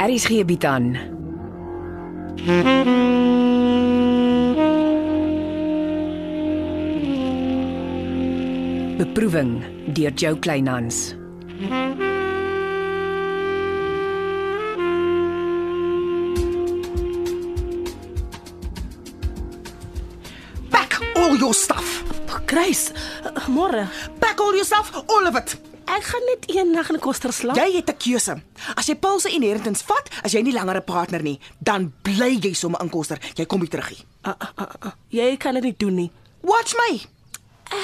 Aries gee bied aan. Beproeving deur Jo Kleinhans. Pack all your stuff. Grace, môre. Pack all your stuff, all of it. Ek gaan net eendag in Koster slaap. Jy het 'n keuse. As jy Paul se inheritance vat, as jy nie langer 'n partner nie, dan bly jy sommer inkoster. Jy kom nie terug nie. Ah, ah, ah, ah. Jy kan dit nie doen nie. Watch my.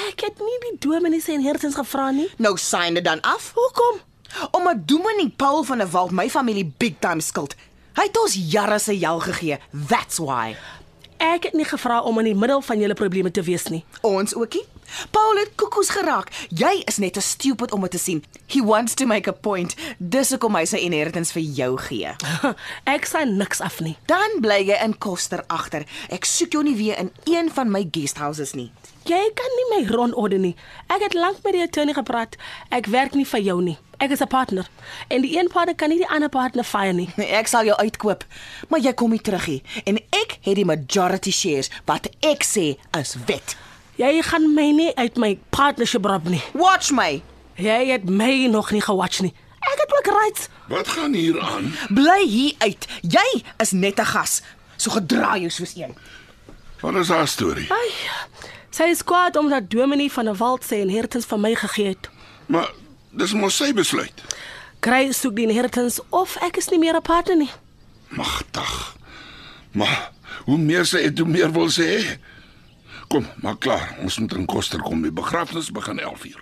Ek het nie die dominee se inheritance gevra nie. Nou sign dit dan af. Hoekom? Om 'n dominee Paul van der Walt my familie big time skuld. Hy het ons jare se jel gegee. That's why. Ek het nie gevra om in die middel van julle probleme te wees nie. Ons ookie. Paul het koekoes geraak. Jy is net te stupid om dit te sien. He wants to make a point. Dis hoekom hy sy inheritance vir jou gee. Ah, Ek sien niks af nie. Dan bly jy in Koster agter. Ek soek jou nie weer in een van my guesthouses nie. Jy kan nie my rondorde nie. Ek het lank met die attorney gepraat. Ek werk nie vir jou nie. Ek is 'n partner en die een partner kan nie die ander partner fire nie. Nee, ek sal jou uitkoop, maar jy kom nie terug nie. En ek het die majority shares wat ek sê is wet. Jy gaan my nie uit my partnership rob nie. Watch my. Jy het my nog nie gewatch nie. Ek het ook rights. Wat gaan hier aan? Bly hier uit. Jy is net 'n gas. So gedra jou soos een. Wat is haar storie? Ai. Sy is kwaad omdat Dominie van der Walt sy inheritance van my gegee het. Maar dis mos sy besluit. Kry soek die inheritance of ek is nie meer 'n partner nie. Magtig. Maar hoe meer sy het, hoe meer wil sy hê. Kom, maak klaar. Ons moet in Koster kom. Die begrafnis begin 11:00.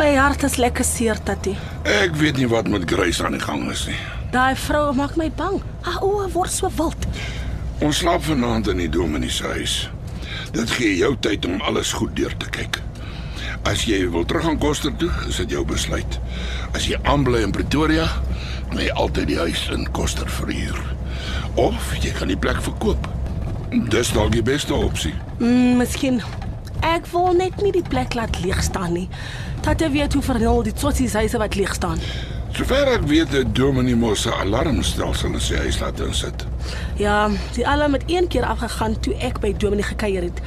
My hart is lekker seer, Tatie. Ek weet nie wat met Grace aan die gang is nie. Daai vrou maak my bang. Haar oë word so wild. Ons slaap vanaand in die dominee se huis. Dit gee jou tyd om alles goed deur te kyk. As jy wil terug aan Koster toe, is dit jou besluit. As jy aanbly in Pretoria, kan jy altyd die huis in Koster verhuur. Of jy kan die plek verkoop. Dis dalk die beste opsie. Mm, miskien ek wil net nie die plek laat leeg staan nie. Tatie weet hoe vernul die tsotsies huise wat leeg staan. Sover ek weet, het Dominee Mosse alarmstelsel in sy huis laat insit. Ja, die alarm het een keer afgegaan toe ek by Dominie gekuier het.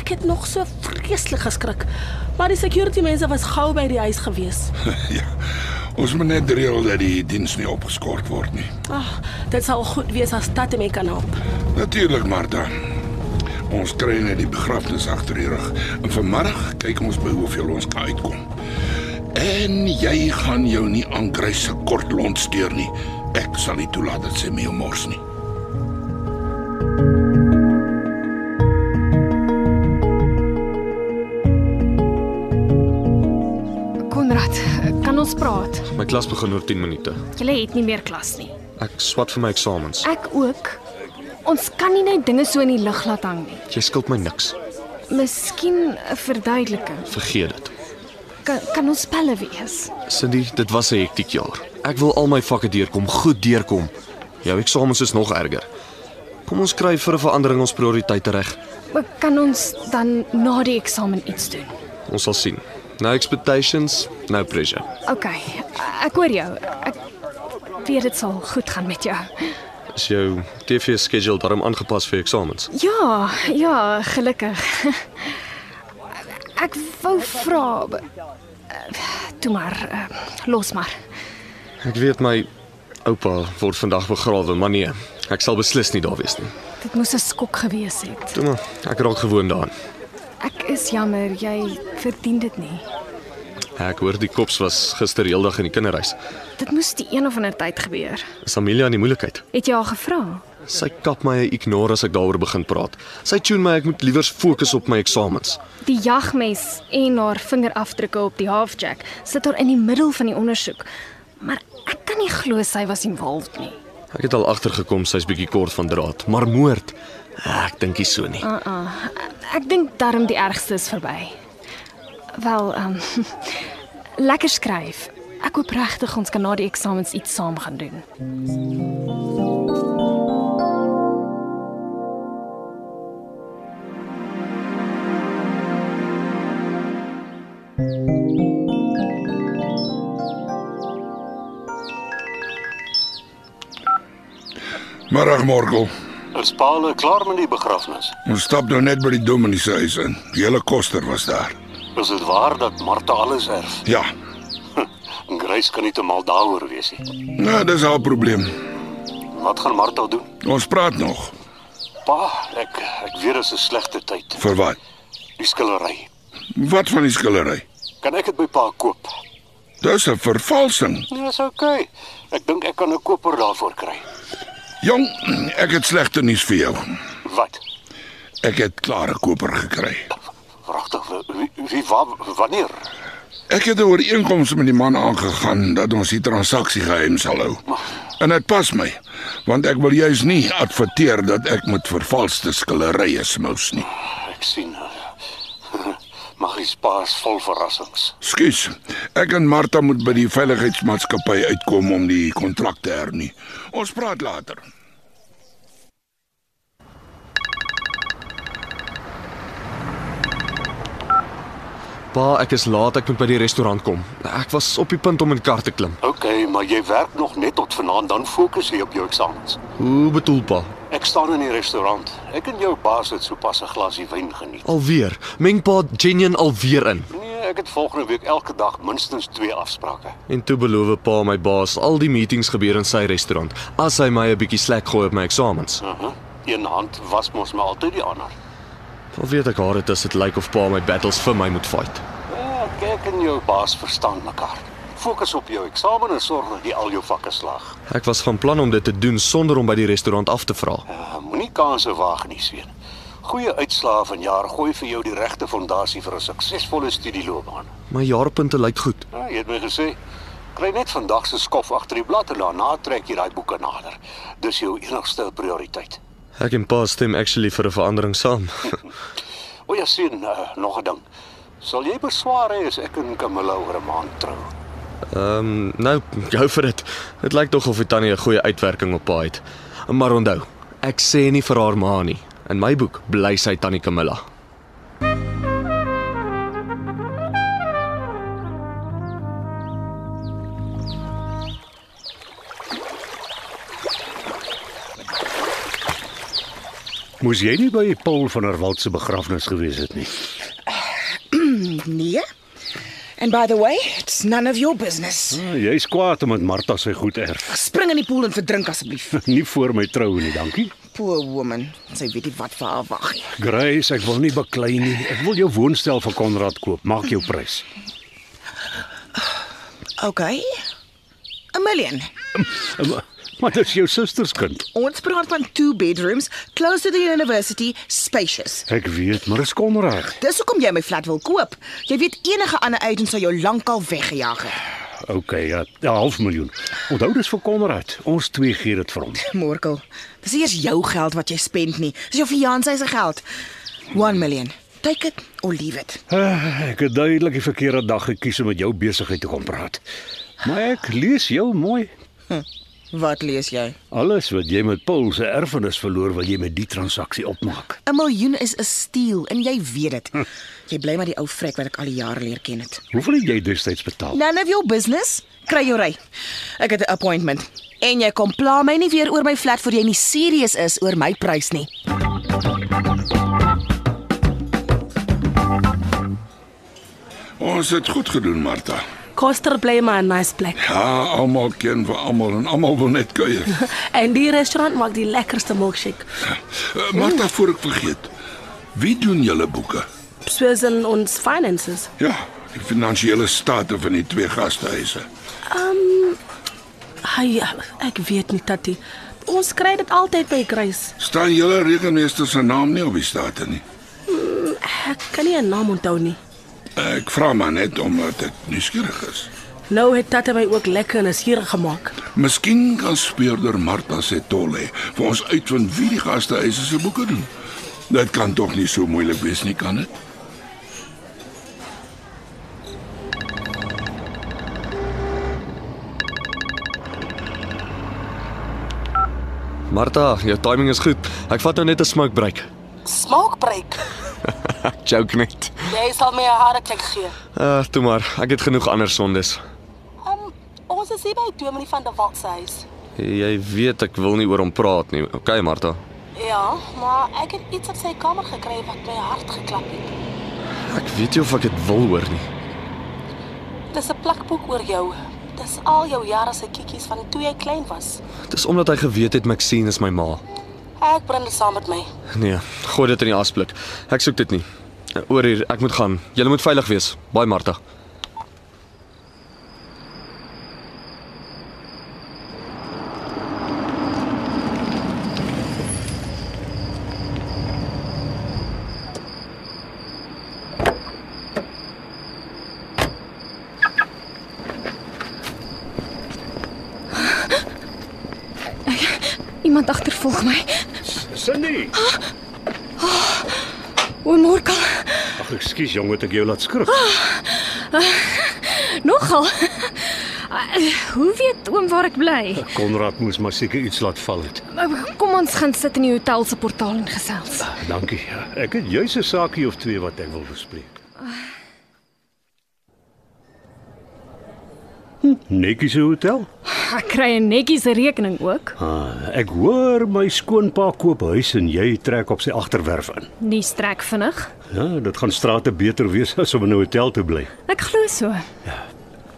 Ek het nog so vreeslik geskrik. Maar die security mense was gou by die huis gewees. ja. Ons moet net reël dat die diens nie opgeskort word nie. Ag, Ah, dit sal goed wees as Tatie my kan help. Natuurlik, Martha. Ons kry net die begrafnis agter die rug. En vanmiddag kyk ons by hoeveel ons kan uitkom. En jy gaan jou nie aan Grace se kort lont steur nie. Ek sal nie toelaat dat sy my mors nie. Konrad, kan ons praat? My klas begin oor 10 minute. Jy het nie meer klas nie. Ek swat vir my eksamens. Ek ook. Ons kan nie net dinge so in die lug laat hang nie. Jy skuld my niks. Miskien 'n verduideliking. Vergeet dit. Kan, kan ons pelle wees? Cindy, dit was 'n hektiek jaar. Ek wil al my vakke deurkom, goed deurkom. Jou eksamens is nog erger. Kom ons kry vir 'n verandering ons prioriteite reg. Maar Kan ons dan na die eksamen iets doen? Ons sal sien. No expectations, no pressure. OK, ek hoor jou. Ek weet dit sal goed gaan met jou. Is jou TV schedule daarom aangepas vir eksamens? Ja, ja, gelukkig. Ek wou vra b- toe maar eh, los maar. Ek weet my oupa word vandag begrawe, maar nee, ek sal beslis nie daar wees nie. Dit moes 'n skok gewees het. Toe maar, ek raak gewoond daaraan. Ek is jammer, jy verdien dit nie. Ek hoor die kops was gister heeldag in die kinderhuis. Dit moes die een of ander tyd gebeur. Is Amelia in die moeilikheid? Het jy haar gevra? Sy kap my en ignoreer as ek daaroor begin praat. Sy tune my ek moet liewers fokus op my eksamens. Die jagmes en haar vingerafdrukke op die halfjack sit haar in die middel van die ondersoek. Maar ek kan nie glo sy was involved nie. Ek het al agtergekom sy's bietjie kort van draad, maar moord. Ek dink nie so nie. Ah. Uh-uh. Ek dink darm die ergste is verby. Wel, ehm um, lekker skryf. Ek hoop regtig ons kan na die eksamens iets saam gaan doen. Middag Morkel. Is Paul klaar met die begrafnis? Ons stap nou net by die dominee se huis in. Die hele koster was daar. Is dit waar dat Martha alles erf? Hm, Ja. Grace kan nie te mal daaroor wees nie. Nou, dis haar probleem. Wat gaan Martha doen? Ons praat nog. Pa, ek ek weet dit is 'n slegte tyd. Vir wat? Die skillery. Wat van die skillery? Kan ek dit by pa koop? Dis 'n vervalsing. Nee, is oukei. Okay. Ek dink ek kan 'n koper daarvoor kry. Jong, ek het slegte nuus vir jou. Wat? Ek het klare koper gekry. Pragtig. Wie, wie wa, wanneer? Ek het 'n ooreenkoms met die man aangegaan dat ons die transaksie geheim sal hou. En dit pas my, want ek wil juis nie adverteer dat ek met vervalste skillerye smous nie. Ek sien. eh, Mag is paas vol verrassings. Skus. Ek en Martha moet by die veiligheidsmaatskappy uitkom om die kontrak te hernie. Ons praat later. Pa, ek is laat, ek moet by die restaurant kom. Ek was op die punt om in die kar te klim. Okay, maar jy werk nog net tot vanaand dan fokus jy op jou eksamens. Hoe bedoel pa? Ek staan in die restaurant. Ek en jou baas het sopas 'n glasie wyn geniet. Alweer. Meng pa Genien alweer in. Nee, ek het volgende week elke dag minstens 2 afsprake. En toe beloof pa my baas al die meetings gebeur in sy restaurant as hy my 'n bietjie slack gooi op my eksamens. Uh -huh. Een hand was mos maar altyd die ander. Al weet ek haar dit is dit lyk of pa my battles vir my moet fight. Ja, kyk en jou baas verstaan mekaar. Fokus op jou eksamen en sorg dat jy al jou vakke slaag. Ek was van plan om dit te doen sonder om by die restaurant af te vra. Uh, Moenie kanse waag nie, seun. Goeie uitslae vanjaar gooi vir jou die regte fondasie vir 'n suksesvolle studieloopbaan. My jaarpunte lyk goed. Ja, jy het my gesê, kry net vandag se skof agter die blad en daarna trek jy daai boeke nader. Dis jou enigste prioriteit. Ek en pa stem actually vir 'n verandering saam. O ja, seun, uh, nog 'n ding. Sal jy beswaar hê as ek en Camilla oor 'n maand trou? Ehm, um, nou, go vir dit. Dit lyk tog of die tannie 'n goeie uitwerking op pa het. Maar onthou, ek sê nie vir haar ma nie. In my boek bly sy tannie Camilla. Moes jy nie by Paul van der Walt se begrafnis gewees het nie. Nee. And by the way, it's none of your business. Ah, Jy's kwaad omdat Martha sy goed erf. Spring in die poel en verdrink asseblief. Nie voor my trou nie, dankie. Poor woman. Sy weet nie wat vir haar wag nie. Grace, ek wil nie beklei nie. Ek wil jou woonstel vir Konrad koop. Maak jou prys. Okay. 'n Million. Eh, Maar- Maar dit is jou susterskind. Ons praat van two bedrooms close to the university, spacious. Ek weet, maar dis Konrad. Dis hoekom jy my flat wil koop. Jy weet enige ander agent sou jou lankal weggejaag het. Okay, ja, 'n half miljoen. Onthou dis vir Konrad. Ons twee gee dit vir hom. Morkel, dis nie eers jou geld wat jy spend nie. Dis jou fiancé se geld. 1 million. Take it or leave it. Ah, Ek het duidelik die verkeerde dag gekies om met jou besigheid te kom praat. Maar ek lees jou mooi. Wat lees jy? Alles wat jy met Paul se erfenis verloor, wil jy met die transaksie opmaak. Hm. 'n Miljoen is 'n steel en jy weet dit. Jy bly maar die ou vrek wat ek al die jare leer ken het. Hoeveel het jy destyds betaal? None of your business. Kry jou ry. Ek het 'n appointment. En jy kom pla my nie weer oor my flat voor jy nie serieus is oor my prys nie. Ons het goed gedoen, Martha. Koster bly maar 'n nice plek. Ja, almal ken vir almal en almal wil net kuier. En die restaurant maak die lekkerste milkshake. Eh, Martha, voor ek vergeet. Wie doen julle boeke? Soos in ons finances. Ja, die finansiële state van die twee gastehuise. Ehm, Ai, ja, ek weet nie tatie. Ons kry dit altyd by Grace. Staan julle rekenmeester se naam nie op die state nie. Ek kan nie 'n naam onthou nie. Ek vra maar net omdat ek nuuskierig is. Nou het tatie my ook lekker en suur gemaak. Miskien kan speurder Martha se tolle vir ons uitvind wie die gastehuise se boeke doen. Dit kan tog nie so moeilik wees nie, kan dit? Martha, jou timing is goed. Ek vat nou net 'n smoke break. Smoke break. Joke net. Jy sal my 'n harde klik gee. Uh, toe maar. Ek het genoeg ander sondes. Ehm, Um, ons is hier by Dominie van der Walt se huis. Jy weet ek wil nie oor hom praat nie. Okay, Martha. Ja, maar ek het iets op sy kamer gekry wat my hart geklap het. Ek weet nie of ek dit wil hoor nie. Dis 'n plakboek oor jou. Dis al jou jare se kiekies van toe jy klein was. Dis omdat hy geweet het Maxine is my ma. Ek bring dit saam met my. Nee, gooi dit in die asblik. Ek soek dit nie. Oor hier, ek moet gaan. Jy moet veilig wees. Baai Martha. Iemand agtervolg my. Cindy. O, Morkel, Ag, ekskuus jong, het ek jou laat skrik. nogal. Hoe weet oom waar ek bly? Konrad moes maar seker iets laat val het. Kom ons gaan sit in die hotel se portaal en gesels. Nou, Dankie. Ek het juis 'n saakie of twee wat ek wil bespreek. Hm, Netjies 'n hotel? Ek kry 'n netjies rekening ook. Ah, ek hoor my skoonpa koop huis en jy trek op sy agterwerf in. Die strek vinnig. Ja, dit gaan strate beter wees as om in 'n hotel te bly. Ek glo so.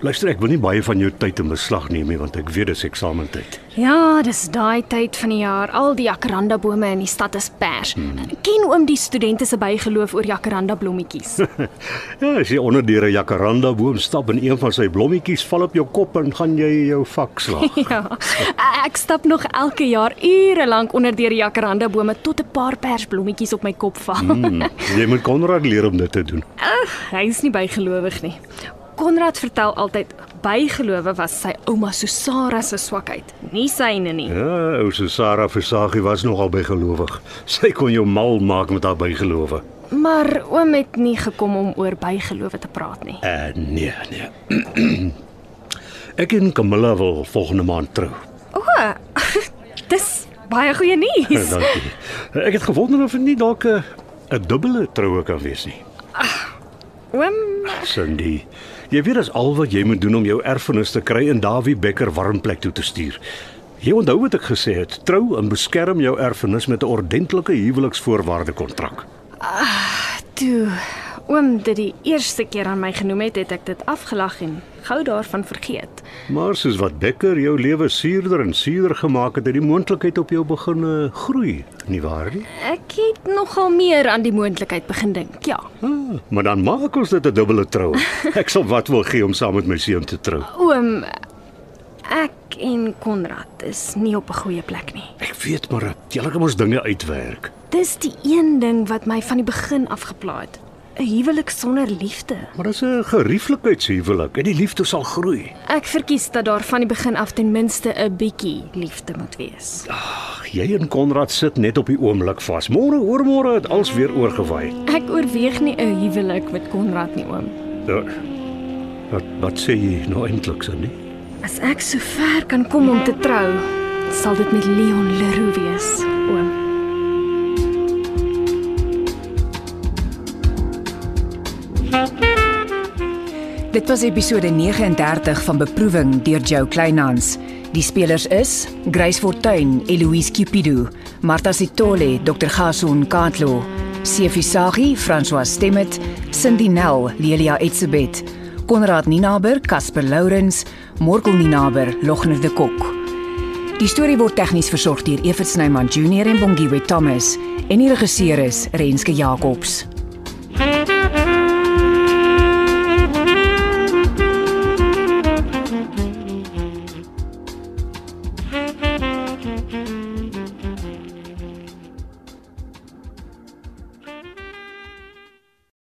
Luister, ek wil nie baie van jou tyd in beslag neem nie, want ek weet dis eksamentyd. Ja, dis daai tyd van die jaar. Al die jacaranda bome in die stad is pers. Ken oom die studente se bygeloof oor jacaranda blommetjies? Ja, as jy onder deur 'n jacaranda boom stap en een van sy blommetjies val op jou kop en gaan jy jou vak slaag. ja. Ek stap nog elke jaar ure lank onder deur die jacaranda bome tot 'n paar persblommetjies op my kop val. Hmm, jy moet Konrad leer om dit te doen. Hy is nie bygelowig nie. Konrad vertel altyd bygelowe was sy ouma Susara se swakheid, nie syne nie. Ja, ou Susara Versagie was nogal bygelowig. Sy kon jou mal maak met haar bygelowe. Maar oom het nie gekom om oor bygelowe te praat nie. Eh nee, nee. ek en Camilla wil volgende maand trou. O, dis baie goeie Eh, nuus. Dankie. Ek het gewonder of dit nie dalk 'n 'n dubbele troue kan wees nie. Oom, Cindy, jy weet as al wat jy moet doen om jou erfenis te kry en Dawie Becker warm plek toe te stuur. Jy onthou wat ek gesê het, trou en beskerm jou erfenis met 'n ordentlike huweliksvoorwaarde kontrak. toe oom dit die eerste keer aan my genoem het, het ek dit afgelag en gou daarvan vergeet. Maar soos wat Becker jou lewe suurder en suurder gemaak het, het die moontlikheid op jou begin eh, groei, nie waar nie? Ek het nogal meer aan die moontlikheid begin dink. Ja. Ah, maar dan maak ons dit 'n dubbele trou. Ek sal wat wil gee om saam met my seun te trou. Oom, ek en Konrad is nie op 'n goeie plek nie. Ek weet maar, jy kan ons dinge uitwerk. Dis die een ding wat my van die begin af geplaai het. 'n Huwelik sonder liefde. Maar dis 'n gerieflikheidshuwelik en die liefde sal groei. Ek verkies dat daar van die begin af ten minste 'n bietjie liefde moet wees. Ag, jy en Konrad sit net op die oomblik vas. Môre, hoor môre, het alles weer oorgewaai. Ek oorweeg nie 'n huwelik met Konrad nie, oom. Ja, Wat wat sê jy nou eintlik, Sandy? As ek so ver kan kom om te trou, sal dit met Leon Leroux wees, oom. Dit was episode 39 van Beproewing deur Jo Kleinhans. Die spelers is Grace Fortuin, Eloise Cupido, Martha Sitole, Dr. Gason Katlo, Sefisagi, François Stemmet, Cindy Nel, Lelia Etsebet, Konrad Ninaber, Casper Lourens, Morkel Ninaber, Logner de Kok. Die storie word tegnies versorg deur Evert Snyman Junior en Bongwe Thomas en die regisseur is Renske Jacobs.